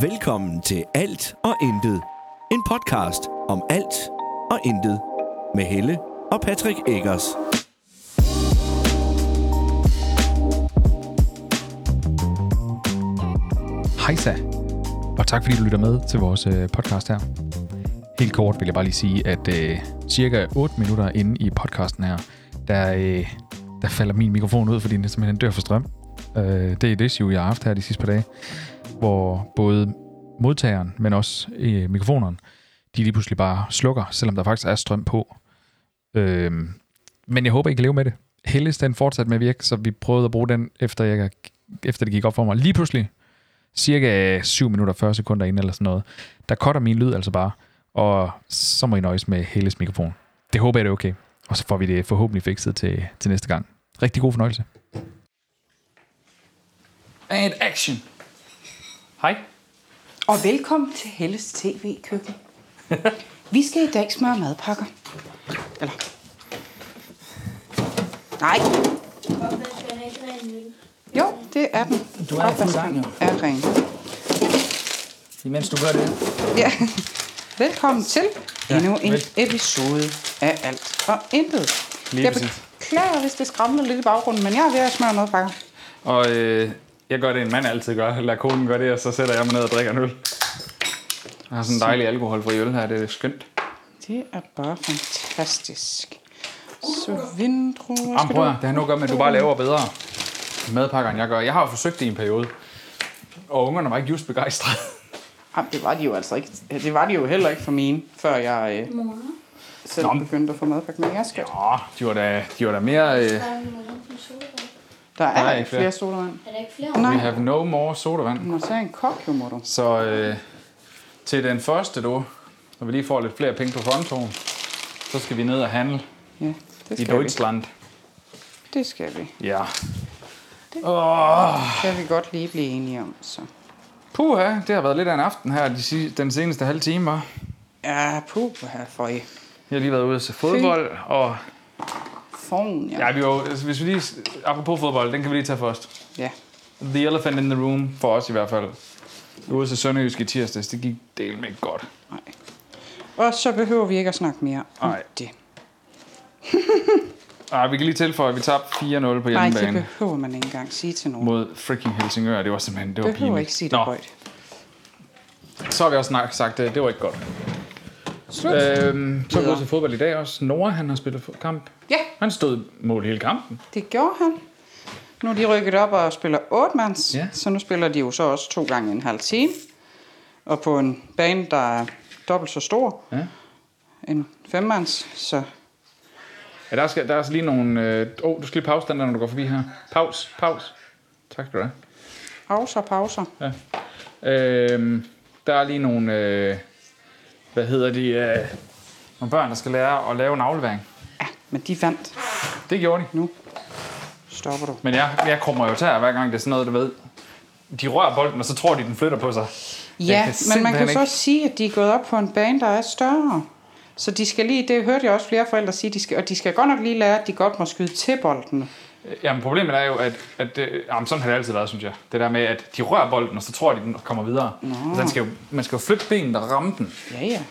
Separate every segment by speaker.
Speaker 1: Velkommen til Alt og Intet. En podcast om alt og intet. Med Helle og Patrick Eggers.
Speaker 2: Hejsa, og tak fordi du lytter med til vores øh, podcast her. Helt kort vil jeg bare lige sige, at øh, cirka 8 minutter inde i podcasten her, der, øh, der falder min mikrofon ud, fordi den simpelthen dør for strøm. Øh, det er et issue, jeg har haft her de sidste par dage, hvor både modtageren, men også øh, mikrofoneren, de lige pludselig bare slukker, selvom der faktisk er strøm på. Øh, men jeg håber, I kan leve med det. Helles, den fortsatte med at virke, så vi prøvede at bruge den, efter, jeg, efter det gik op for mig. Lige pludselig, cirka 7 minutter og 40 sekunder ind eller sådan noget, der cutter min lyd altså bare, og så må I nøjes med Helles mikrofon. Det håber jeg, det er okay. Og så får vi det forhåbentlig fikset til, til næste gang. Rigtig god fornøjelse. And action! Hej.
Speaker 3: Og velkommen til Helles TV-køkken. Vi skal i dag smøre madpakker. Eller... Nej, jo, det er den.
Speaker 4: Du er i fuld gang, jo.
Speaker 3: Er ren.
Speaker 4: Imens du gør det.
Speaker 3: Ja. Velkommen til
Speaker 4: Ja,
Speaker 3: endnu en
Speaker 4: vel.
Speaker 3: episode af Alt og Intet.
Speaker 4: Lige
Speaker 3: jeg
Speaker 4: præcis.
Speaker 3: beklager, hvis det skramler lidt i baggrunden, men jeg er ved at smøre madpakker.
Speaker 2: Og øh, jeg gør det, en mand altid gør. Lad konen gøre det, og så sætter jeg mig ned og drikker en øl. Jeg har sådan en dejlig alkoholfri øl her, det er skønt.
Speaker 3: Det er bare fantastisk. Så vindruer
Speaker 2: Jamen,
Speaker 3: skal
Speaker 2: prøv
Speaker 3: du...
Speaker 2: at, det har noget at gøre med, at du bare laver bedre madpakker, end jeg gør. Jeg har jo forsøgt det i en periode, og ungerne var ikke just begejstrede.
Speaker 3: Jamen, det var de jo altså ikke. Det var de jo heller ikke for mine, før jeg øh, selv
Speaker 2: Nå, men-
Speaker 3: begyndte at få madpakker. Men jeg skal
Speaker 2: Åh, de var da, de var da mere... Øh,
Speaker 3: Der er,
Speaker 2: Der er
Speaker 3: ikke
Speaker 2: ikke flere.
Speaker 3: flere sodavand.
Speaker 5: Er der ikke flere?
Speaker 2: we
Speaker 3: Nej,
Speaker 2: have no more sodavand.
Speaker 3: må tage en kok jo, mor.
Speaker 2: Så øh, til den første, du, når vi lige får lidt flere penge på kontoen, så skal vi ned og handle
Speaker 3: Ja, det
Speaker 2: i
Speaker 3: skal vi.
Speaker 2: Deutschland.
Speaker 3: Det skal vi.
Speaker 2: Ja. Åh,
Speaker 3: Kan vi godt lige blive enige om, så.
Speaker 2: puha, det har været lidt af en aften her de, si- den seneste halve time, var.
Speaker 3: Ja, puh, her for i
Speaker 2: Jeg har lige været ude og se fodbold, og
Speaker 3: forn, ja.
Speaker 2: ja, vi var, altså, hvis vi lige, apropos fodbold, den kan vi lige tage først.
Speaker 3: ja.
Speaker 2: The Elephant in the Room, for os i hvert fald. Vi var ude til Sønderjysk i tirsdags, det gik del med godt.
Speaker 3: Nej. Og så behøver vi ikke at snakke mere om
Speaker 2: Nej.
Speaker 3: det.
Speaker 2: Ej, Ah, vi kan lige tilføje, at vi tabte 4-0 på
Speaker 3: Nej, det
Speaker 2: hjemmebane
Speaker 3: behøver man ikke engang sige til nogen.
Speaker 2: mod freaking Helsingør. Det var simpelthen, det var
Speaker 3: Du behøver
Speaker 2: pinligt.
Speaker 3: ikke sige det
Speaker 2: Nå,
Speaker 3: højt.
Speaker 2: så har vi også snak, sagt, at det var ikke godt.
Speaker 3: Slut.
Speaker 2: Øhm, så er vi
Speaker 3: Videre.
Speaker 2: ude til fodbold i dag også. Nora, han har spillet fo- kamp.
Speaker 3: Ja,
Speaker 2: Han stod mål hele kampen.
Speaker 3: det gjorde han. Nu er de rykket op og spiller 8 mands,
Speaker 2: Ja.
Speaker 3: så nu spiller de jo så også to gange en halv time. Og på en bane, der er dobbelt så stor,
Speaker 2: Ja.
Speaker 3: en femmands, så
Speaker 2: Ja, der, skal, der er også lige nogle... Åh, øh, oh, du skal lige pause den der, når du går forbi her. Paus, paus. Tak skal du have.
Speaker 3: pauser, pauser.
Speaker 2: Ja. Øhm, der er lige nogle, øh, hvad hedder de, øh, nogle børn, der skal lære at lave en aflevering.
Speaker 3: Ja, men de vandt.
Speaker 2: Det gjorde de.
Speaker 3: Stopper du.
Speaker 2: Men jeg, jeg krummer jo tær, hver gang det er sådan noget, du ved. De rører bolden, og så tror de, den flytter på sig.
Speaker 3: Ja,
Speaker 2: kan
Speaker 3: men man kan
Speaker 2: simpelthen
Speaker 3: så
Speaker 2: ikke-
Speaker 3: også sige, at de er gået op på en bane, der er større. Så de skal lige, det hørte jeg også flere forældre sige, de skal, og de skal godt nok lige lære, at de godt må skyde til bolden.
Speaker 2: Jamen, problemet er jo, at, at øh, jamen, sådan har det altid været, synes jeg. Det der med, at de rører bolden, og så tror de, den kommer videre. Nå. Altså, den skal jo, man skal jo flytte benet og ramme den.
Speaker 3: Ja, ja,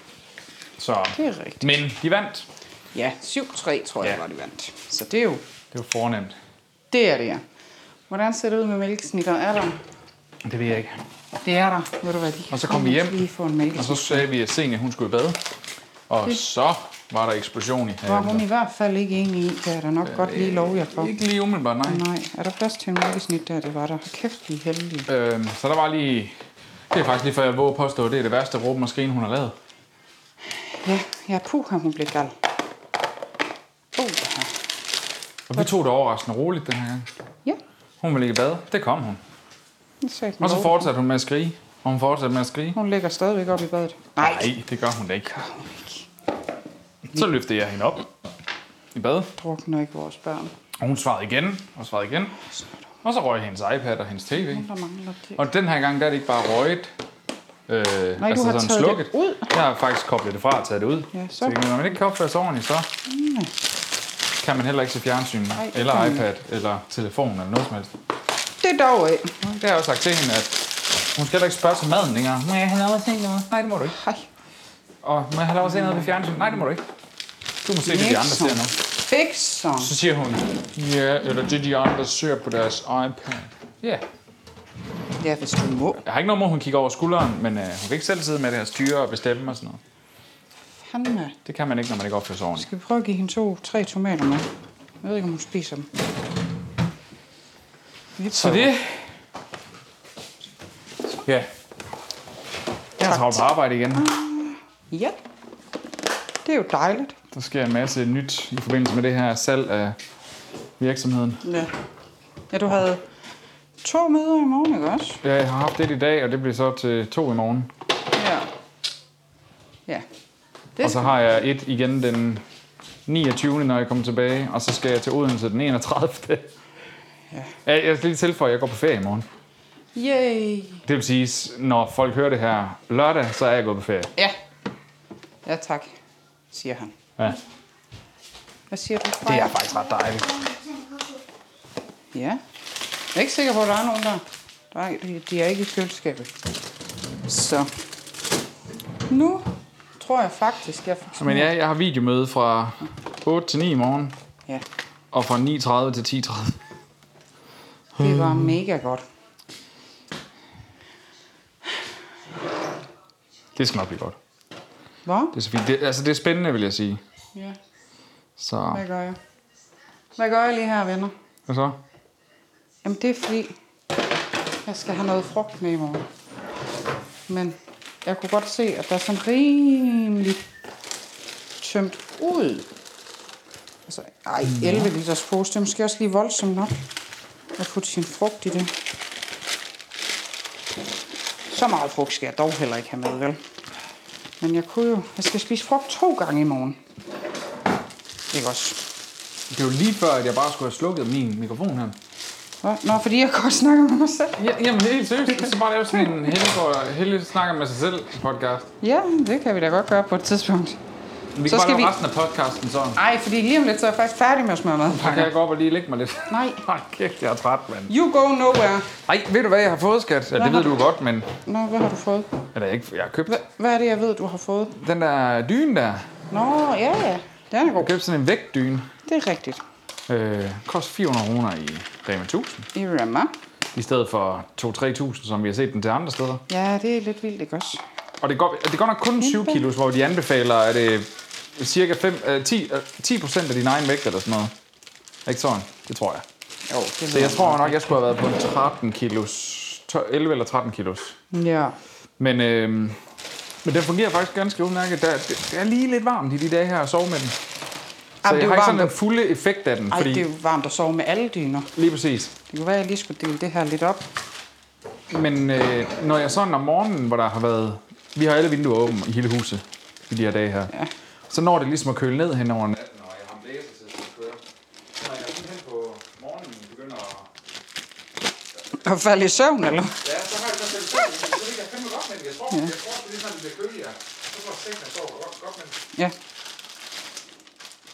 Speaker 2: Så.
Speaker 3: det er rigtigt.
Speaker 2: Men de vandt.
Speaker 3: Ja, 7-3 tror jeg
Speaker 2: Ja.
Speaker 3: var de vandt. Så det er jo,
Speaker 2: Det var fornemt.
Speaker 3: det er det, ja. Hvordan ser det ud med mælkesnitter? Er der?
Speaker 2: Det ved jeg ikke.
Speaker 3: Det er der. Ved du hvad, de
Speaker 2: Og så kom vi
Speaker 3: Jeg
Speaker 2: hjem.
Speaker 3: skal Lige få en
Speaker 2: Og
Speaker 3: mælkesnitter.
Speaker 2: så sagde vi, at Senior, hun skulle i bad. Og så var der eksplosion i
Speaker 3: Var
Speaker 2: haven.
Speaker 3: hun i hvert fald ikke enig i, kan jeg da nok godt lige love jer for.
Speaker 2: Ikke lige umiddelbart, nej.
Speaker 3: Nej, er der plads til en mælkesnit der? Det var der. Kæft, vi er heldige.
Speaker 2: Øhm, så der var lige... Det er faktisk lige før jeg våger at påstå, at det er det værste råbemaskine, hun har lavet.
Speaker 3: Ja, ja, puha, hun blev gal. Uh,
Speaker 2: Og vi tog det overraskende roligt den her gang.
Speaker 3: ja,
Speaker 2: Hun ville ikke i bad. Det kom hun.
Speaker 3: det sagde den
Speaker 2: Og så
Speaker 3: lov.
Speaker 2: fortsatte hun med at skrige. Og hun fortsatte med at skrige.
Speaker 3: Hun ligger stadigvæk op i badet.
Speaker 2: Nej, det gør hun da ikke. Så løftede jeg hende op i bad.
Speaker 3: Drukner ikke vores børn.
Speaker 2: Og hun svarede igen, og svarede igen. Og så røg hendes iPad og hendes tv.
Speaker 3: Der mangler det.
Speaker 2: Og den her gang, der er det ikke bare røget. Øh,
Speaker 3: Nej,
Speaker 4: altså
Speaker 3: du har taget det ud.
Speaker 2: Jeg har faktisk koblet det fra og taget det ud.
Speaker 3: Ja, så.
Speaker 2: så. tænker jeg, Når man ikke kan opføre sig ordentligt, så kan man heller ikke se fjernsyn,
Speaker 3: Nej, det
Speaker 2: eller
Speaker 3: kan man
Speaker 2: iPad, eller telefon, eller noget som helst.
Speaker 3: Det er dog af.
Speaker 2: Det har jeg også sagt til hende, at
Speaker 4: Hun skal heller ikke spørge til maden længere. Må jeg have lov at se noget? Nej, det må du ikke.
Speaker 3: Hej.
Speaker 4: Og må jeg have lov at se noget ved fjernsynet? Nej, det må du ikke. Du må se, hvad de andre ser nu.
Speaker 3: Fik sådan.
Speaker 4: Så siger hun, ja, yeah, eller det de andre ser på deres iPad. Ja. Yeah.
Speaker 3: Ja, hvis du må.
Speaker 4: Jeg har ikke noget mod, hun kigger over skulderen, men øh, hun kan ikke selv sidde med det her styre og bestemme og sådan noget.
Speaker 3: Fanden
Speaker 4: Det kan man ikke, når man ikke opfører sig ordentligt.
Speaker 3: Skal vi prøve at give hende to, tre tomater med? Jeg ved ikke, om hun spiser dem. Vi
Speaker 4: Så det... Ja. Jeg har travlt på arbejde igen.
Speaker 3: Ja. Det er jo dejligt.
Speaker 4: Der sker en masse nyt i forbindelse med det her salg af virksomheden.
Speaker 3: Ja. Ja, du havde to møder i morgen, ikke også?
Speaker 4: Ja, Jeg har haft det i dag, og det bliver så til to i morgen.
Speaker 3: Ja. Ja.
Speaker 4: Og så har jeg et igen den 29. når jeg kommer tilbage, og så skal jeg til Odense den 31. Ja. Jeg skal lige tilføje, at jeg går på ferie i morgen.
Speaker 3: Yay.
Speaker 4: Det vil sige, når folk hører det her lørdag, så er jeg gået på ferie.
Speaker 3: Ja. Ja, tak, siger han.
Speaker 4: Ja.
Speaker 3: Hvad siger du?
Speaker 4: Det er faktisk ret dejligt.
Speaker 3: Ja. Jeg er ikke sikker på, at der er nogen der. Nej, de- de er ikke i køleskabet. Så. Nu tror jeg faktisk, jeg får...
Speaker 4: Men ja, jeg har videomøde fra 8 til 9 i morgen,
Speaker 3: Ja,
Speaker 4: og fra 9.30 til 10.30.
Speaker 3: det var mega godt.
Speaker 4: Det skal nok blive godt.
Speaker 3: Hvor?
Speaker 4: Det er så fint. Det, altså, det er spændende, vil jeg sige.
Speaker 3: Ja,
Speaker 4: Så,
Speaker 3: hvad gør jeg? Hvad gør jeg lige her, venner?
Speaker 4: hvad så?
Speaker 3: Jamen, det er fordi, jeg skal have noget frugt med i morgen. Men jeg kunne godt se, at der er sådan rimelig tømt ud. Altså, ej, 11 liters pose, det er måske også lige voldsomt nok at putte sin frugt i det. Så meget frugt skal jeg dog heller ikke have med, vel? Men jeg kunne jo... Jeg skal spise frugt to gange i morgen. Ikke også?
Speaker 4: Det er jo lige før, at jeg bare skulle have slukket min mikrofon her.
Speaker 3: Hva? Nå, fordi jeg godt snakker med mig selv.
Speaker 4: Ja, jamen, helt seriøst. Så bare lave sådan en Helle, går, Helle snakker med sig selv podcast.
Speaker 3: Ja, det kan vi da godt gøre på et tidspunkt.
Speaker 4: Vi
Speaker 3: Så
Speaker 4: kan bare
Speaker 3: skal
Speaker 4: lave
Speaker 3: vi-
Speaker 4: resten af podcasten sådan.
Speaker 3: Nej, fordi lige om lidt, så er jeg faktisk færdig med at smøre mad.
Speaker 4: Så kan jeg gå op og lige lægge mig lidt.
Speaker 3: Nej.
Speaker 4: Ej, kæft, jeg er træt, mand.
Speaker 3: You go nowhere.
Speaker 4: Ej, ved du hvad jeg har fået, skat? Ja, det ved du godt, men...
Speaker 3: Nå, hvad har du fået?
Speaker 4: Eller ikke, jeg har købt
Speaker 3: Hvad er det, jeg ved, du har fået?
Speaker 4: den der dyne der.
Speaker 3: Nå, ja, ja. Den er
Speaker 4: Jeg
Speaker 3: god.
Speaker 4: købte sådan en vægtdyne.
Speaker 3: Det er rigtigt.
Speaker 4: Øh, koster 400 kroner i Rema 1000.
Speaker 3: I Rema.
Speaker 4: I stedet for 2-3.000, som vi har set den til andre steder.
Speaker 3: Ja, det er lidt vildt, ikke også?
Speaker 4: Og det går, det er godt nok kun 20 kilos, hvor de anbefaler, at det er cirka 5, øh, 10, øh, 10 procent af din egen vægt eller sådan noget. Ikke sådan? Det tror jeg.
Speaker 3: Jo, det
Speaker 4: Så jeg tror nok, jeg skulle have været på 13 kilos. 12 11 eller 13 kilos.
Speaker 3: Ja.
Speaker 4: Men, øh, men den fungerer faktisk ganske udmærket. Der, det, det er lige lidt varmt i de dage her at sove med den. Så
Speaker 3: Ej,
Speaker 4: jeg
Speaker 3: det er
Speaker 4: har
Speaker 3: jo
Speaker 4: ikke
Speaker 3: varmt.
Speaker 4: sådan
Speaker 3: At...
Speaker 4: den fulde effekt af den.
Speaker 3: Ej,
Speaker 4: fordi,
Speaker 3: det er jo varmt at sove med alle dyner.
Speaker 4: Lige præcis.
Speaker 3: Det kunne være, at jeg lige skulle dele det her lidt op.
Speaker 4: Men øh, når jeg sådan om morgenen, hvor der har været... Vi har alle vinduer åbne i hele huset i de her dage her. Ja. Så når det ligesom at køle ned hen over natten, og jeg har blæser til at køre. Så når jeg sådan hen på morgenen begynder at...
Speaker 3: Og falde i søvn, eller?
Speaker 4: Ja, så har jeg sådan set... Jeg ved ikke, jeg fandme godt med det. Jeg tror, ja. jeg tror, det er sådan, det bliver køligere. Så går sengen og sover godt, godt med det.
Speaker 3: Ja.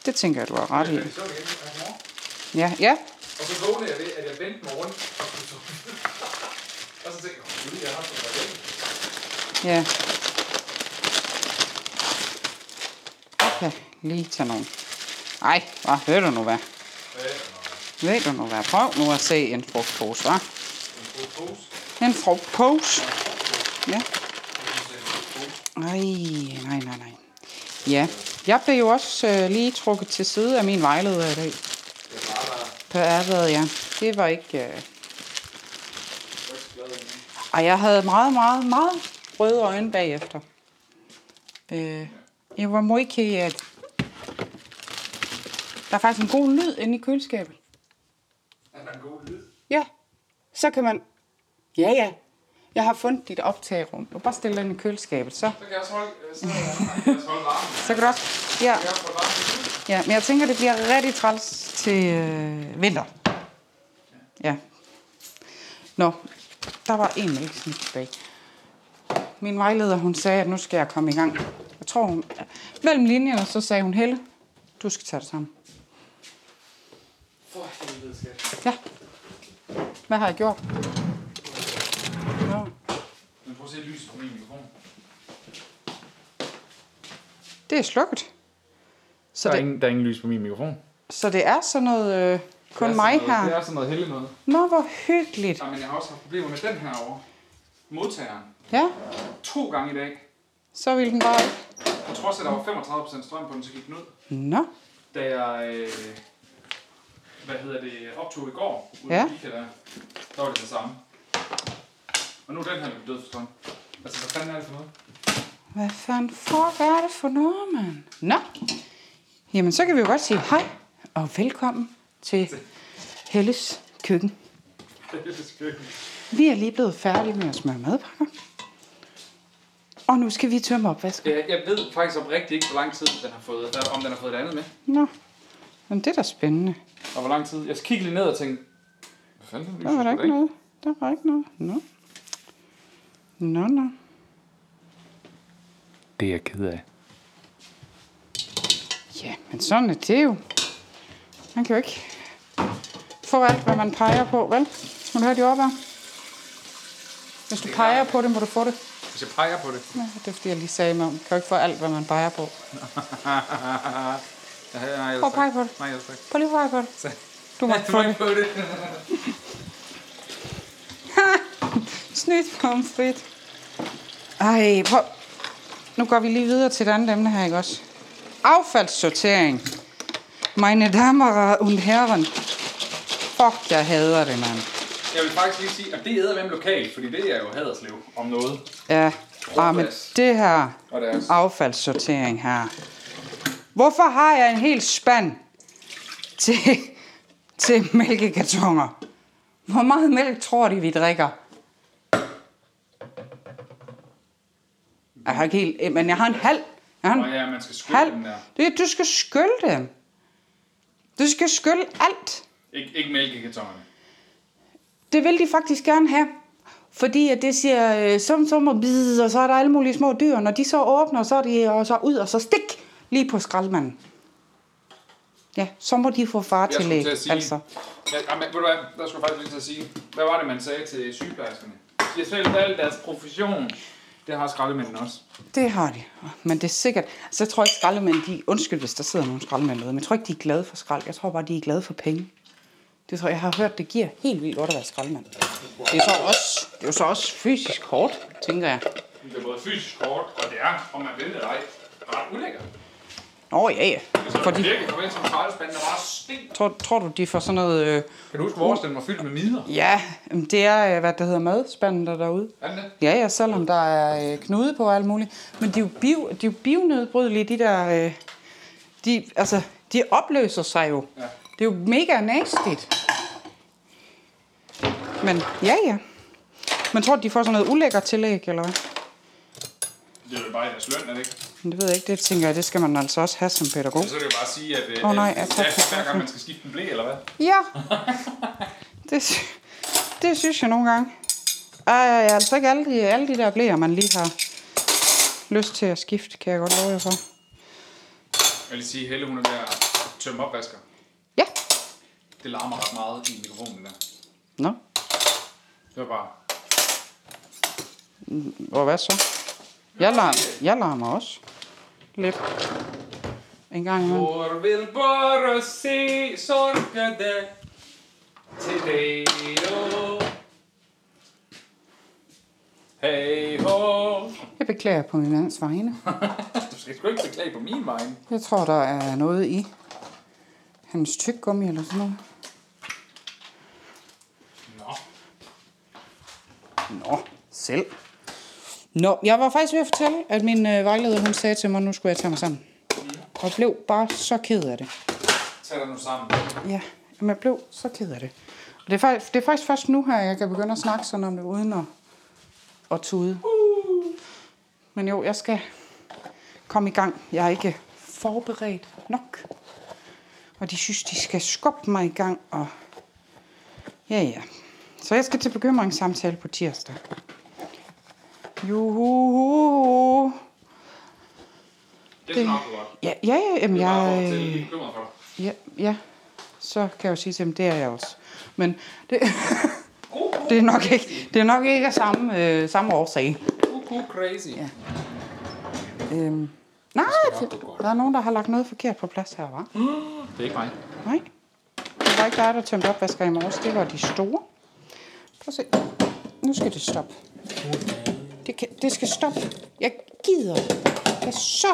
Speaker 3: Det tænker jeg, du har ret i.
Speaker 4: Så er det igen her i morgen.
Speaker 3: Ja, ja.
Speaker 4: Og så vågnede jeg ved, at jeg vendte mig rundt og skulle sove. og så tænkte jeg, gud, jeg har sådan noget.
Speaker 3: Ja. Jeg kan lige tage nogle. Ej, hvad hører du nu hvad? Ved du nu hvad? Prøv nu at se en frugtpose, hva'? En frugtpose? Ja. Ej, nej, nej, nej. Ja, jeg blev jo også øh, lige trukket til side af min vejleder i dag. På arbejdet, ja. Det var ikke... Øh... Og jeg havde meget, meget, meget røde øjne bagefter. Øh, jeg var meget ked af det. Der er faktisk en god lyd inde i køleskabet. Er der en god lyd? Ja. Så kan man... Ja, ja. Jeg har fundet dit optagerum. Du kan bare stille den i køleskabet, så.
Speaker 4: Så kan jeg også holde, øh, så kan jeg også holde varmen.
Speaker 3: Så kan du også... Ja,
Speaker 4: Jeg får varmen.
Speaker 3: ja. men jeg tænker, det bliver rigtig træls til øh, vinter. Ja. Nå, der var en mælkesnit tilbage. Min vejleder, hun sagde, at nu skal jeg komme i gang. Jeg tror, hun... Mellem linjerne, så sagde hun, Helle, du skal tage dig sammen.
Speaker 4: For helvede, skat.
Speaker 3: Ja. Hvad har jeg gjort? Nå.
Speaker 4: se lyset på min mikrofon.
Speaker 3: Det er slukket. Så
Speaker 4: Der er,
Speaker 3: det,
Speaker 4: ingen, der er ingen lys på min mikrofon.
Speaker 3: så det er sådan noget... Øh, kun mig her.
Speaker 4: Det er sådan noget heldigt noget.
Speaker 3: Nå, hvor hyggeligt.
Speaker 4: Nej, men jeg har også haft problemer med den her over. Modtageren.
Speaker 3: Ja,
Speaker 4: To gange i dag.
Speaker 3: så vil den bare...
Speaker 4: På trods af, at der var 35% strøm på den, så gik den ud.
Speaker 3: Nå,
Speaker 4: Da jeg, øh, hvad hedder det, optog i går, ude
Speaker 3: Ja.
Speaker 4: ja. Kika, der, der var det det samme. Og nu er den her løbet død for strøm. Altså, hvad fanden er det for noget?
Speaker 3: hvad fanden fuck er det for noget, mand? Nå, jamen så kan vi jo godt sige hej og velkommen til Helles køkken.
Speaker 4: Det er skønt.
Speaker 3: Vi er lige blevet færdige med at smøre madpakker. Og nu skal vi tømme opvasken.
Speaker 4: Ja, jeg ved faktisk oprigtigt ikke, hvor lang tid den har fået, der- om den har fået det andet med.
Speaker 3: Nå, men det er da spændende.
Speaker 4: Og hvor lang tid. Jeg skal kigge lige ned og tænke, hvad fanden er det,
Speaker 3: Der var der ikke noget. Der var ikke noget. Nå. Nå, nå.
Speaker 4: Det er jeg ked af.
Speaker 3: Ja, men sådan er det jo. Man kan jo ikke få alt, hvad man peger på, vel? Må du høre de opad? Hvis du peger på det, må du få det.
Speaker 4: Hvis jeg peger på det.
Speaker 3: Nå, det er fordi, jeg lige sagde mig om. Man kan jo ikke få alt, hvad man peger på.
Speaker 4: Ja, nej, jeg
Speaker 3: Prøv at pege på det.
Speaker 4: Nej, jeg skal ikke.
Speaker 3: Prøv lige at pege på det. Du må ikke få det.
Speaker 4: på det.
Speaker 3: Snydt pomfrit. Ej, prøv. Nu går vi lige videre til et andet emne her, ikke også? Affaldssortering. Meine damer und herren. Fuck, jeg hader det, mand.
Speaker 4: Jeg vil faktisk lige sige, at det æder hvem lokalt, fordi det er jo Haderslev om noget.
Speaker 3: Ja, ah, men det her
Speaker 4: Og deres-
Speaker 3: Ah. affaldssortering her. Hvorfor har jeg en hel spand til, til mælkekartoner? Hvor meget mælk tror de, vi drikker? Jeg har ikke helt, men jeg har en halv. Jeg har en
Speaker 4: Nå ja, man skal skylle
Speaker 3: halv.
Speaker 4: dem der.
Speaker 3: Det, du skal skylle dem. Du skal skylle alt.
Speaker 4: Ikke, ikke mælkekartonerne.
Speaker 3: Det vil de faktisk gerne have. Fordi at det siger, øh, som som og bid, og så er der alle mulige små dyr. Når de så åbner, så er de og så ud, og så stik lige på skraldmanden. Ja, så må de få
Speaker 4: Jeg skulle
Speaker 3: fartillæg,
Speaker 4: til at sige...
Speaker 3: altså.
Speaker 4: Ja, jamen, ved du hvad, der skulle jeg faktisk lige til at sige... Hvad var det, man sagde til sygeplejerskerne? De har selv valgt deres profession. Det har skraldemændene også.
Speaker 3: Det har de. Men det er sikkert... Altså, jeg tror ikke, skraldemænd, de... Undskyld, hvis der sidder nogle skraldemænd derude, men jeg tror ikke, de er glade for skrald. Jeg tror bare, de er glade for penge. Det tror jeg, jeg har hørt, det giver helt vildt godt at være skraldemand. Det er, så også, det er jo så også fysisk hårdt, tænker jeg.
Speaker 4: Det er både fysisk hårdt, og det er, om man vil det eller ej, ret ulækkert.
Speaker 3: Nå ja, ja.
Speaker 4: Altså,
Speaker 3: Fordi,
Speaker 4: Fordi... virkelig komme ind til en skraldespand, der bare stinker.
Speaker 3: tror, tror du, de får sådan noget... Øh,
Speaker 4: Kan du huske, vores den var fyldt med midler?
Speaker 3: Ja, øhm, det er, øh, hvad det hedder, madspanden der er derude.
Speaker 4: Er den det?
Speaker 3: Ja, ja, selvom der er øh, knude på og alt muligt. Men de er jo, bio, de er jo bionedbrydelige, de der... Øh, de, altså, de opløser sig jo.
Speaker 4: Ja.
Speaker 3: Det er jo mega nastigt. Men ja, ja. Men tror du, de får sådan noget ulækker tillæg, eller hvad?
Speaker 4: Det er jo bare i deres løn, er det ikke?
Speaker 3: Men det ved jeg ikke, det tænker jeg, det skal man altså også have som pædagog.
Speaker 4: Så skal jeg bare sige, at øh,
Speaker 3: Åh, nej,
Speaker 4: at-
Speaker 3: jeg tager
Speaker 4: ja,
Speaker 3: på-
Speaker 4: hver gang man skal skifte en blæ, eller hvad?
Speaker 3: Ja. Det, sy- det synes jeg nogle gange. Ej, altså ikke alle de, alle de der blæer, man lige har lyst til at skifte, kan jeg godt love jer for.
Speaker 4: Jeg vil lige sige, Helle, hun er ved at tømme opvasker.
Speaker 3: Ja.
Speaker 4: Det larmer ret meget i mikrofonen, det der.
Speaker 3: Nå,
Speaker 4: Det var bare...
Speaker 3: og hvad så? Jeg larmer, jeg larmer også. Lidt. En gang imellem.
Speaker 4: Hvor vil bare se sorgede til dig, jo. Hey ho.
Speaker 3: Jeg beklager på min mands vegne.
Speaker 4: Du skal sgu ikke beklage på min vej.
Speaker 3: Jeg tror, der er noget i hans tyggegummi eller sådan noget.
Speaker 4: Nå.
Speaker 3: Nå, selv. Nå, jeg var faktisk ved at fortælle, at min øh, vejleder, hun sagde til mig, at nu skulle jeg tage mig sammen. Og blev bare så ked af det.
Speaker 4: Tag dig nu sammen.
Speaker 3: Ja, men jeg blev så ked af det. Og det er, faktisk, det er faktisk først nu her, jeg kan begynde at snakke sådan om det, uden at, at tude. Men jo, jeg skal komme i gang. Jeg er ikke forberedt nok. Og de synes, de skal skubbe mig i gang. Og ja, ja. Så jeg skal til bekymringssamtale på tirsdag. Juhu.
Speaker 4: Det er sådan nok godt.
Speaker 3: Ja, ja, ja. Jamen,
Speaker 4: Jeg er
Speaker 3: jeg... øh,
Speaker 4: til at blive bekymret for dig.
Speaker 3: Ja, ja. Så kan jeg jo sige til dem, det er jeg også. Men det, det, er, nok ikke, det er nok ikke af samme, øh, samme årsag.
Speaker 4: cuckoo crazy.
Speaker 3: Ja. Øhm. Nej, det, der er nogen, der har lagt noget forkert på plads her, var.
Speaker 4: Det er ikke mig.
Speaker 3: Nej. Det var ikke dig, der tømte opvasker i morges. Det var de store. Prøv at se. Nu skal det stoppe. Det, kan, det skal stoppe. Jeg gider. Jeg er så...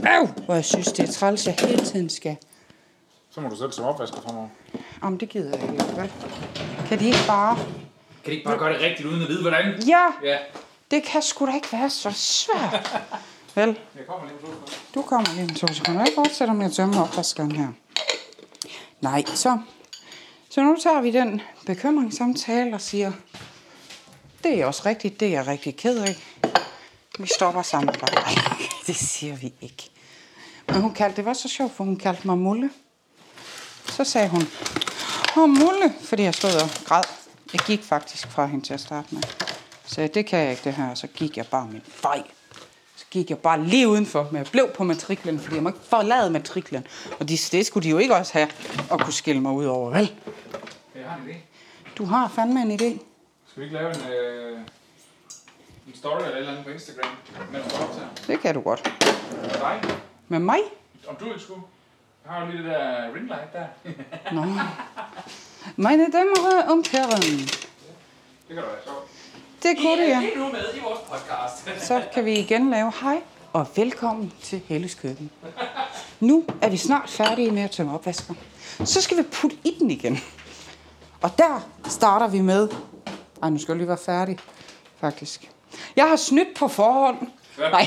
Speaker 3: Øv, hvor jeg synes, det er træls, jeg hele tiden skal...
Speaker 4: Så må du selv som opvasker fremover.
Speaker 3: Om det gider jeg ikke, vel? Kan de ikke bare...
Speaker 4: Kan de ikke bare gøre det rigtigt, uden at vide, hvordan?
Speaker 3: Ja,
Speaker 4: Ja.
Speaker 3: det kan sgu da ikke være så svært. Vel,
Speaker 4: Jeg kommer lige på
Speaker 3: Du kommer lige om to sekunder. Jeg fortsætter med at tømme opvaskeren her. Nej, så... Så nu tager vi den bekymringssamtale og siger, det er også rigtigt, det er jeg rigtig ked af. Vi stopper sammen. Nej, det siger vi ikke. Men hun kaldte, det var så sjovt, for hun kaldte mig Mulle. Så sagde hun, åh Mulle, fordi jeg stod og græd. Jeg gik faktisk fra hende til at starte med. Så sagde, det kan jeg ikke det her, og så gik jeg bare min vej. Så gik jeg bare lige udenfor, men jeg blev på matriklen, fordi jeg må ikke forlade matriklen. Og de, det skulle de jo ikke også have at kunne skille mig ud over, vel?
Speaker 4: Jeg har en idé.
Speaker 3: Du har fandme en idé.
Speaker 4: Skal vi ikke lave en, øh, en story eller et eller andet på Instagram, mens du optager?
Speaker 3: Det kan du godt.
Speaker 4: Med dig?
Speaker 3: Med mig?
Speaker 4: Om du ikke skulle? Jeg har jo lige det der ring light der.
Speaker 3: Nå. Meine Damen und Herren.
Speaker 4: Det kan da være sjovt.
Speaker 3: Det kunne det, ja.
Speaker 4: nu med i vores podcast.
Speaker 3: Så kan vi igen lave hej og velkommen til Helles Køkken. Nu er vi snart færdige med at tømme opvasker. Så skal vi putte i den igen. Og der starter vi med... Ej, nu skal jeg lige være færdig, faktisk. Jeg har snydt på forhånd. Nej,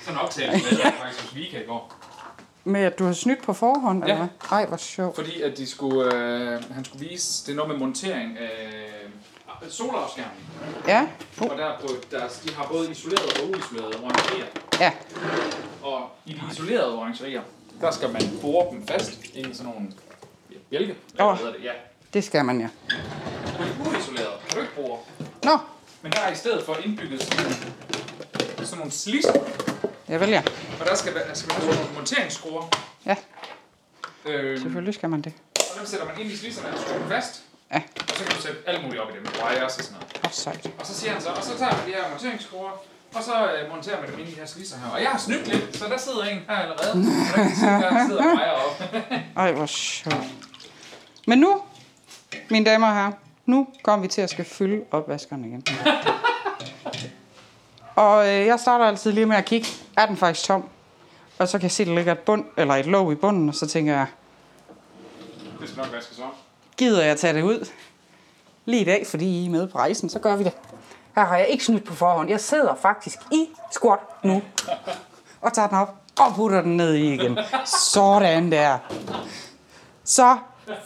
Speaker 4: Sådan en optagelse lavede jeg faktisk hos Vika i går.
Speaker 3: med at du har snydt på forhånd, eller
Speaker 4: Ja.
Speaker 3: hvad? Ej, hvor sjovt.
Speaker 4: Fordi at de skulle, øh, han skulle vise, det er noget med montering af solafskærmning.
Speaker 3: Ja,
Speaker 4: Oh. Og der, på, der, de har både isoleret og uisolerede orangerier.
Speaker 3: ja.
Speaker 4: Og i de isolerede orangerier, der skal man bore dem fast ind i sådan nogle ja, bjælke. Hvad
Speaker 3: Åh.
Speaker 4: hedder det? Ja.
Speaker 3: Det skal man, ja.
Speaker 4: På de uisolerede kan du ikke bore.
Speaker 3: Nå,
Speaker 4: Men der er i stedet for indbygget sådan, nogle- sådan nogle sliser.
Speaker 3: jeg vælger.
Speaker 4: Og der skal, være- der skal man have sådan nogle monteringsskruer. Øhm,
Speaker 3: Ja,
Speaker 4: Øh,
Speaker 3: selvfølgelig skal man det.
Speaker 4: og dem sætter man ind i slisserne og skruer dem fast.
Speaker 3: Ja.
Speaker 4: Og så kan du sætte alt muligt op i dem. Wires og sådan noget.
Speaker 3: Godt sejt.
Speaker 4: Og så siger han så, og så tager vi de her monteringsskruer, og så øh, monterer man dem ind i de her slisser her. Og jeg har snydt lidt, så der sidder en her allerede. Og der kan se, der sidder mig op.
Speaker 3: Ej, hvor sjovt. Men nu, mine damer og herrer, nu kommer vi til at skal fylde opvaskeren igen. og øh, jeg starter altid lige med at kigge, er den faktisk tom? Og så kan jeg se, der ligger et, bund, eller et låg i bunden, og så tænker jeg,
Speaker 4: Det skal nok vaskes om.
Speaker 3: gider jeg tage det ud? Lige i dag, fordi I er med på rejsen, så gør vi det. Her har jeg ikke snydt på forhånd. Jeg sidder faktisk i squat nu. Og tager den op og putter den ned i igen. Sådan der. Så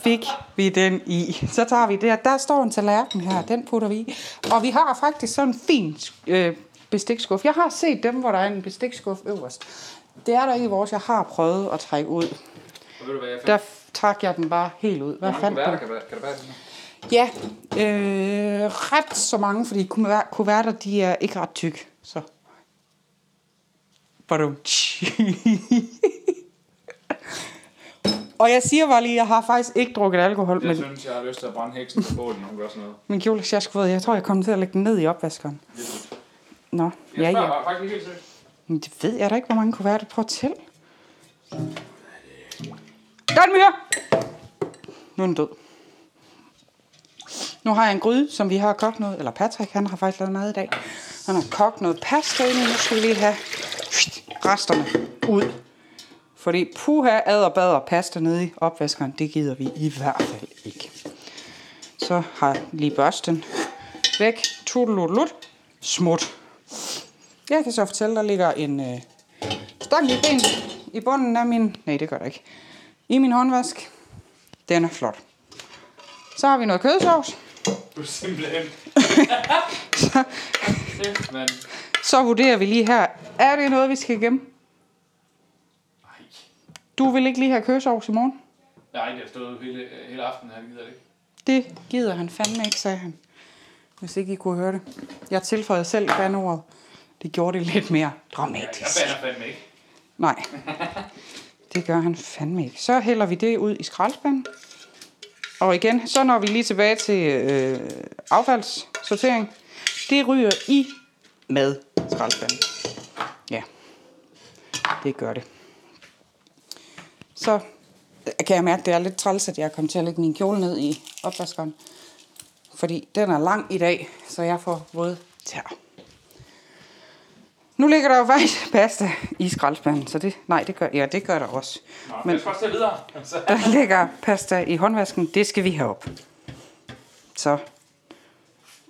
Speaker 3: fik vi den i. Så tager vi det her. Der står en tallerken her. Den putter vi i. Og vi har faktisk sådan en fin øh, bestikskuffe. Jeg har set dem, hvor der er en bestikskuffe øverst. Det er der ikke i vores. Jeg har prøvet at trække ud.
Speaker 4: Og ved du hvad, jeg fandt?
Speaker 3: Der trak jeg den bare helt ud. Hvad
Speaker 4: Hvor mange
Speaker 3: fandt du?
Speaker 4: kuverter kan, der- kan der være i den her?
Speaker 3: Ja, øh, ret så mange, fordi kuver- kuverter, de er ikke ret tyk. Så. Badum. Og jeg siger bare lige, at jeg har faktisk ikke drukket alkohol,
Speaker 4: Jeg
Speaker 3: men
Speaker 4: synes, jeg har lyst til at brænde heksen på bålet, når hun gør sådan noget.
Speaker 3: min kjole er sjaskvåd. Jeg tror, jeg kommer til at lægge den ned i opvaskeren. Nå,
Speaker 4: Jeg
Speaker 3: ja,
Speaker 4: spørger
Speaker 3: ja.
Speaker 4: bare faktisk lige helt seriøst.
Speaker 3: Men det ved jeg da ikke, hvor mange kuverter. Prøv at tæl. Der er den mere! Nu er den død. Nu har jeg en gryde, som vi har kogt noget. Eller Patrick, han har faktisk lavet mad i dag. Han har kogt noget pasta i, nu skal vi lige have resterne ud. Fordi puha, ad og bad og pasta nede i opvaskeren, det gider vi i hvert fald ikke. Så har jeg lige børsten væk. Tudelulut. Smut. Jeg kan så fortælle, der ligger en øh, stak i ben i bunden af min... Nej, det gør der ikke. I min håndvask. Den er flot. Så har vi noget kødsovs.
Speaker 4: Du er simpelthen... Kæft, mand.
Speaker 3: Så vurderer vi lige her, er det noget, vi skal gemme?
Speaker 4: Ej.
Speaker 3: Du vil ikke lige have kødsovs i morgen?
Speaker 4: Nej, det har stået hele, øh, hele aftenen her, det gider det ikke.
Speaker 3: Det gider han fandme ikke, sagde han. Hvis ikke I kunne høre det. Jeg tilføjede selv bandordet. Det gjorde det lidt mere
Speaker 4: Jeg
Speaker 3: dramatisk.
Speaker 4: bander fandme ikke.
Speaker 3: Nej, det gør han fandme ikke. Så hælder vi det ud i skraldespanden. Og igen, så når vi lige tilbage til øh, affaldssortering. Det ryger i med skraldespanden. Ja, det gør det. Så øh, kan jeg mærke, at det er lidt træls, at jeg kom til at lægge min kjole ned i opvaskeren. Fordi den er lang i dag, så jeg får våde tær. Nu ligger der jo faktisk pasta i skraldespanden, så det, nej, det gør, ja, det gør der også.
Speaker 4: Men først er videre. Altså.
Speaker 3: Der ligger pasta i håndvasken. Det skal vi have op. Så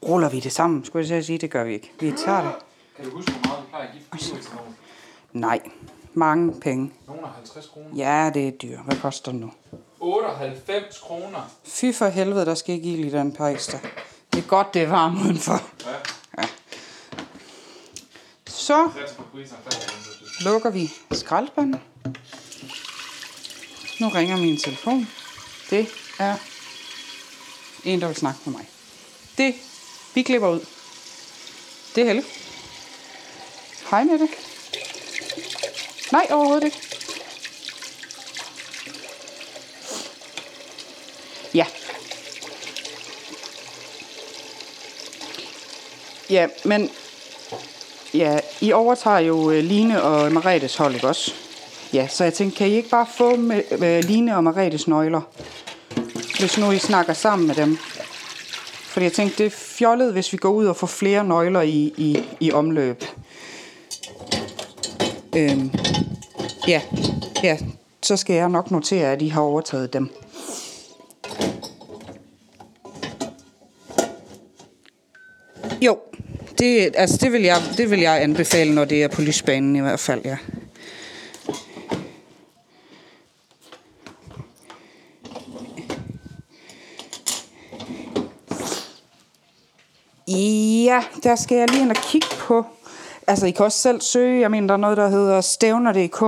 Speaker 3: ruller vi det sammen, skulle jeg til at sige. Det gør vi ikke. Vi tager det.
Speaker 4: Kan du huske, hvor meget vi plejer at give for fyrværkskanon?
Speaker 3: Nej. Mange penge.
Speaker 4: Nogen er 50 kroner.
Speaker 3: Ja, det er dyrt. Hvad koster det nu?
Speaker 4: 98 kroner.
Speaker 3: Fy for helvede, der skal ikke ild i den pasta. Det er godt, det er varmt udenfor.
Speaker 4: Ja,
Speaker 3: Så
Speaker 4: det er på priserne.
Speaker 3: lukker vi skraldespanden. Nu ringer min telefon. Det er en, der vil snakke med mig. Det, vi klipper ud. Det er Helle. Hej med det. Nej, overhovedet ikke. Ja. Ja, men Ja, I overtager jo øh, Line og Maretes hold, ikke også? Ja, så jeg tænkte, kan I ikke bare få med, øh, Line og Maretes nøgler? Hvis nu I snakker sammen med dem. Fordi jeg tænkte, det er fjollet, hvis vi går ud og får flere nøgler i, i, i omløb. Øhm, ja, ja, så skal jeg nok notere, at I har overtaget dem. Jo, det, altså det, vil jeg, det vil jeg anbefale, når det er på lysbanen i hvert fald, ja. Ja, der skal jeg lige ind og kigge på. Altså, I kan også selv søge. Jeg mener, der er noget, der hedder stævner.dk.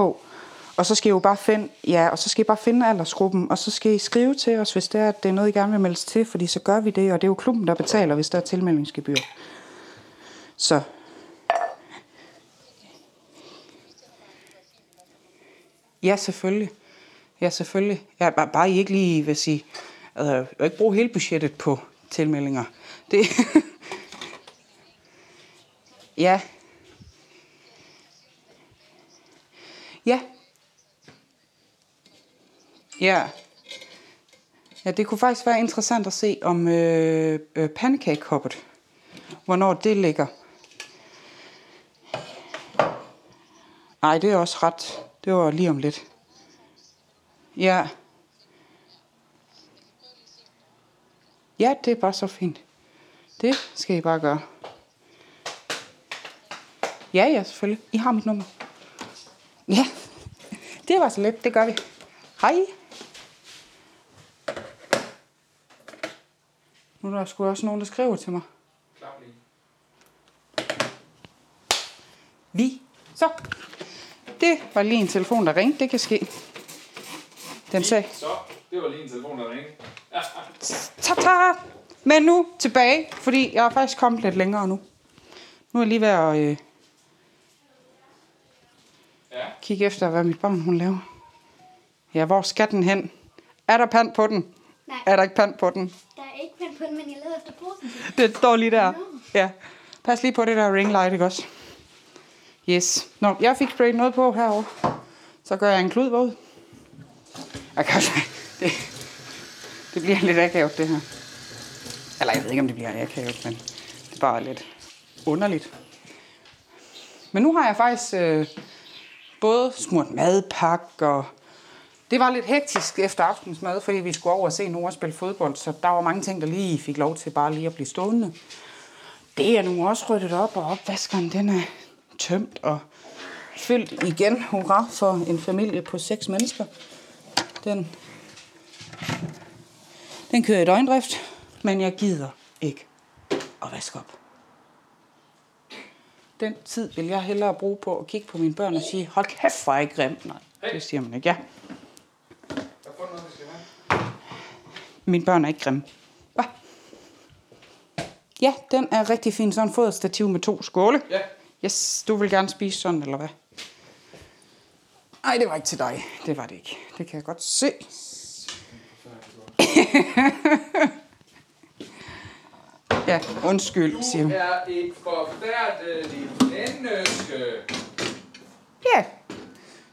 Speaker 3: Og så skal I jo bare finde, ja, og så skal I bare finde aldersgruppen, og så skal I skrive til os, hvis det er, at det er noget, I gerne vil meldes til, fordi så gør vi det, og det er jo klubben, der betaler, hvis der er tilmeldingsgebyr. Så. Ja, selvfølgelig. Ja, selvfølgelig. Ja, bare, bare I ikke lige vil sige, altså, jeg vil ikke bruge hele budgettet på tilmeldinger. Det... ja. Ja. Ja. Ja, det kunne faktisk være interessant at se om øh, øh, pandekagekoppet, hvornår det ligger. Nej, det er også ret. Det var lige om lidt. Ja. Ja, det er bare så fint. Det skal I bare gøre. Ja, ja, selvfølgelig. I har mit nummer. Ja, det var så let. Det gør vi. Hej. Nu er der sgu også nogen, der skriver til mig. Vi. Så. Det var lige en telefon, der ringte. Det kan ske. Den sagde,
Speaker 4: Så, det var lige en telefon, der ringede.
Speaker 3: ta-ta! Men nu tilbage, fordi jeg er faktisk kommet lidt længere nu. Nu er jeg lige ved at øh,
Speaker 4: Ja.
Speaker 3: kigge efter, hvad mit barn hun laver. Ja, hvor skal den hen? Er der pand på den?
Speaker 5: Nej.
Speaker 3: Er der ikke pand på den?
Speaker 5: Der er ikke pand på den, men jeg leder efter posen.
Speaker 3: Det står lige der. Ja. Pas lige på det der ring light, ikke også? Yes. Nå, jeg fik sprayet noget på herovre. Så gør jeg en klud våd. Jeg kan også- det, det bliver lidt akavet, det her. Eller jeg ved ikke, om det bliver akavet, men det er bare lidt underligt. Men nu har jeg faktisk øh, både smurt madpakke og... Det var lidt hektisk efter aftensmad, fordi vi skulle over og se Nora spille fodbold, så der var mange ting, der lige fik lov til bare lige at blive stående. Det er nu også ryddet op, og opvaskeren den er tømt og fyldt igen. Hurra for en familie på seks mennesker. Den, den kører i døgndrift, men jeg gider ikke at vaske op. Den tid vil jeg hellere bruge på at kigge på mine børn og sige, hold kæft, hvor er I grim. Nej, det siger man ikke. Ja,
Speaker 4: Jeg har fundet noget, vi skal have.
Speaker 3: mine børn er ikke grimme. Hva? Ja, den er rigtig fin. Sådan en foderstativ med to skåle.
Speaker 4: Ja.
Speaker 3: Yes, du vil gerne spise sådan, eller hvad? Nej, det var ikke til dig. Det var det ikke. Det kan jeg godt se. Ja, undskyld, siger hun.
Speaker 6: er et forfærdeligt menneske,
Speaker 3: Ja,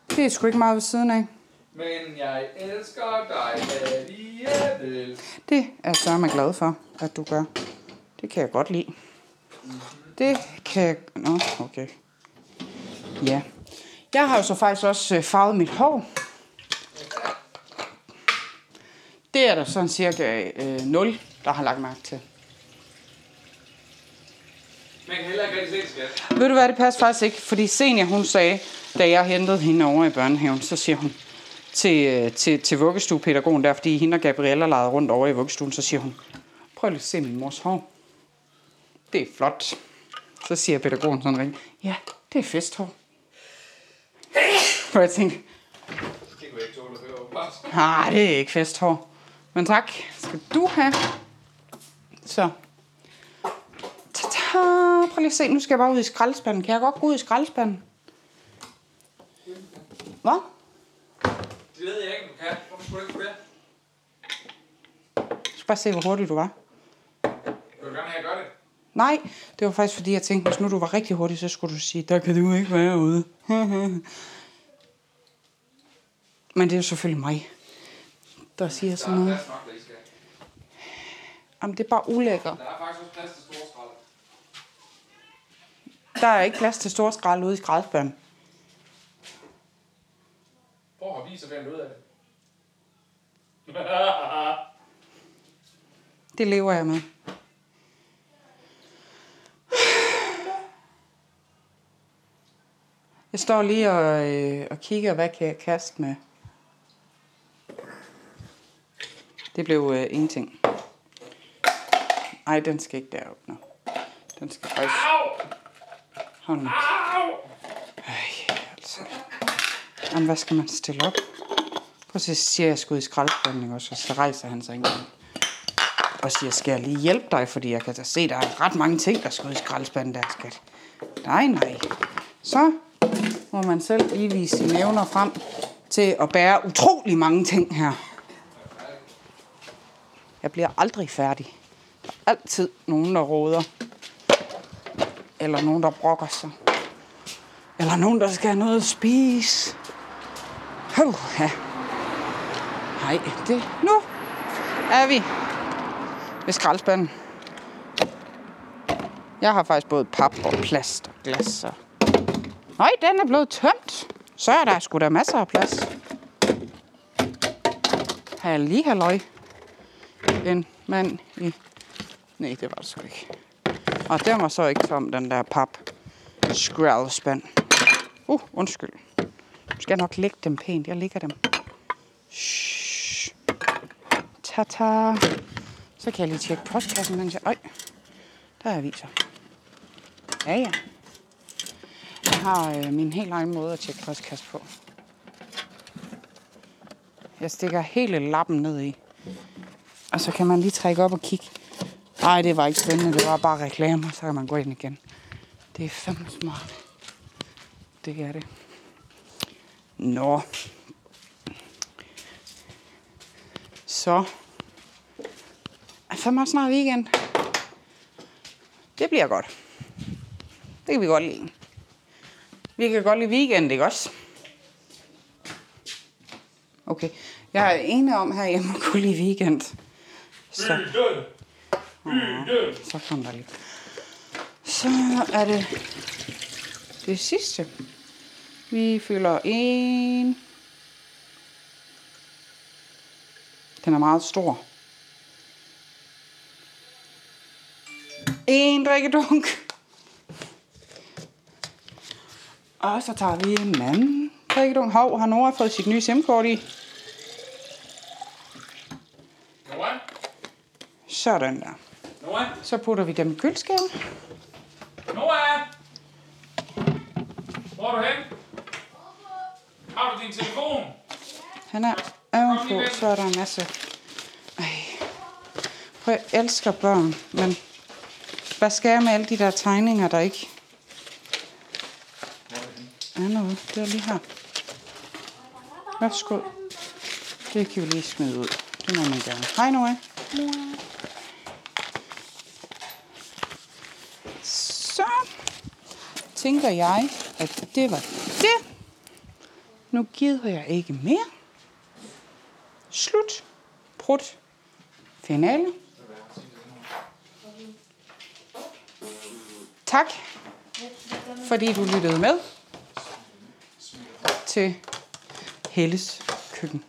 Speaker 3: det er sgu ikke meget ved siden af.
Speaker 6: men jeg elsker dig alligevel.
Speaker 3: Det er Sørme glad for, at du gør. Det kan jeg godt lide. Det kan jeg... Nå, okay. Ja. Jeg har jo så faktisk også øh, farvet mit hår. Det er der sådan cirka øh, 0, der har lagt mærke til.
Speaker 6: Man kan heller ikke rigtig se, skat.
Speaker 3: Ved du hvad, det passer faktisk ikke, fordi Senior, hun sagde, da jeg hentede hende over i børnehaven, så siger hun til, øh, til, til vuggestuepædagogen der, fordi hende og Gabriella legede rundt over i vuggestuen, så siger hun, prøv lige at se min mors hår. Det er flot. Så siger pædagogen sådan ring, ja, det er festhår. Og jeg tænkte,
Speaker 6: Det kunne jeg ikke tåle at høre, åbenbart.
Speaker 3: nej, det er ikke festhår. Men tak, skal du have. Så. Ta-ta. Prøv lige at se, nu skal jeg bare ud i skraldespanden. Kan jeg godt gå ud i skraldespanden? Hvad?
Speaker 6: Det ved jeg ikke, om du kan. Hvorfor skulle du ikke kunne det?
Speaker 3: Jeg skal bare se, hvor hurtig du var.
Speaker 6: Vil du gerne have, at jeg gør det?
Speaker 3: Nej, det var faktisk fordi, jeg tænkte, hvis nu du var rigtig hurtig, så skulle du sige, der kan du ikke være ude. Men det er jo selvfølgelig mig, der siger
Speaker 6: Der
Speaker 3: sådan
Speaker 6: er
Speaker 3: noget.
Speaker 6: plads nok, der I skal.
Speaker 3: Jamen, det er bare ulækkert.
Speaker 6: Der er faktisk også plads til store skrald.
Speaker 3: Der er ikke plads til store skrald ude i skraldespanden.
Speaker 6: Prøv at vise, så finder du ud af det.
Speaker 3: Det lever jeg med. Jeg står lige og, øh, og kigger, hvad kan jeg kaste med. Det blev øh, ingenting. Nej, den skal ikke derop nu. Den skal faktisk... Hold nu. Ej, altså. Jamen, hvad skal man stille op? Prøv at se, så siger jeg, jeg skulle i skraldespanden, ikke også? Og så rejser han sig ikke engang og siger, skal jeg lige hjælpe dig, fordi jeg kan da se, der er ret mange ting, der skal ud i skraldespanden der, skat. Nej, nej. Så må man selv lige vise sine evner frem til at bære utrolig mange ting her. Jeg bliver aldrig færdig. Der er altid nogen, der råder. Eller nogen, der brokker sig. Eller nogen, der skal have noget at spise. Hov, ja. Nej, det... Nu er vi ved skraldespanden. Jeg har faktisk både pap og plast og glas. Og... Nøj, den er blevet tømt. Så er der sgu da masser af plads. Har jeg lige halløj. En mand i... Nej, det var det sgu ikke. Og den var så ikke tom, den der pap skraldespand. Uh, undskyld. Nu skal jeg nok lægge dem pænt. Jeg ligger dem. Shh. Ta-ta. Så kan jeg lige tjekke postkassen, mens jeg... Øj, der er aviser. Ja, ja. Jeg har øh, min helt egen måde at tjekke postkassen på. Jeg stikker hele lappen ned i. Og så kan man lige trække op og kigge. Nej, det var ikke spændende. Det var bare reklamer. Så kan man gå ind igen. Det er fandme smart. Det er det. Nå. Så er fandme også snart weekend. Det bliver godt. Det kan vi godt lide. Vi kan godt lide weekend, ikke også? Okay. Jeg er enig om her, at jeg må kunne lide weekend. Så, så kom der lige. Så er det det sidste. Vi fylder en. Den er meget stor. En drikkedunk. Og så tager vi en anden drikkedunk. Hov, har Nora fået sit nye simkort i?
Speaker 6: Nora?
Speaker 3: Sådan der.
Speaker 6: Nora?
Speaker 3: Så putter vi dem i køleskabet.
Speaker 6: Nora! Hvor er du hen? Har du din telefon?
Speaker 3: Han er ovenpå, så er der en masse... Ej. Prøv, jeg elsker børn, men hvad skal jeg med alle de der tegninger, der ikke er noget? Det er lige her. Værsgo. Det kan vi lige smide ud. Det må man gerne. Hej Noah. Så tænker jeg, at det var det. Nu gider jeg ikke mere. Slut. Prut. Finale. Tak, fordi du lyttede med til Helles køkken.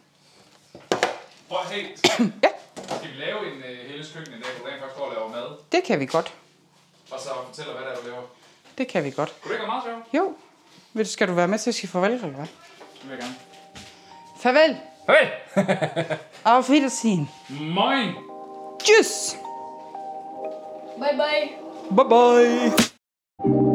Speaker 4: Prøv at se.
Speaker 3: Ja,
Speaker 4: Skal vi lave en uh, hele køkken en dag, hvor du rent faktisk går og laver mad,
Speaker 3: det kan vi godt.
Speaker 4: og så fortæller, hvad det er, du laver?
Speaker 3: Det kan vi godt.
Speaker 4: Kunne det ikke være meget sjovt?
Speaker 3: Jo. Vil du- Skal du være med til at sige farvel, eller hvad?
Speaker 4: Det vil jeg gerne.
Speaker 3: Farvel.
Speaker 4: Hey!
Speaker 3: Auf Wiedersehen.
Speaker 4: Moin!
Speaker 3: Tschüss.
Speaker 7: Bye bye.
Speaker 3: Bye bye.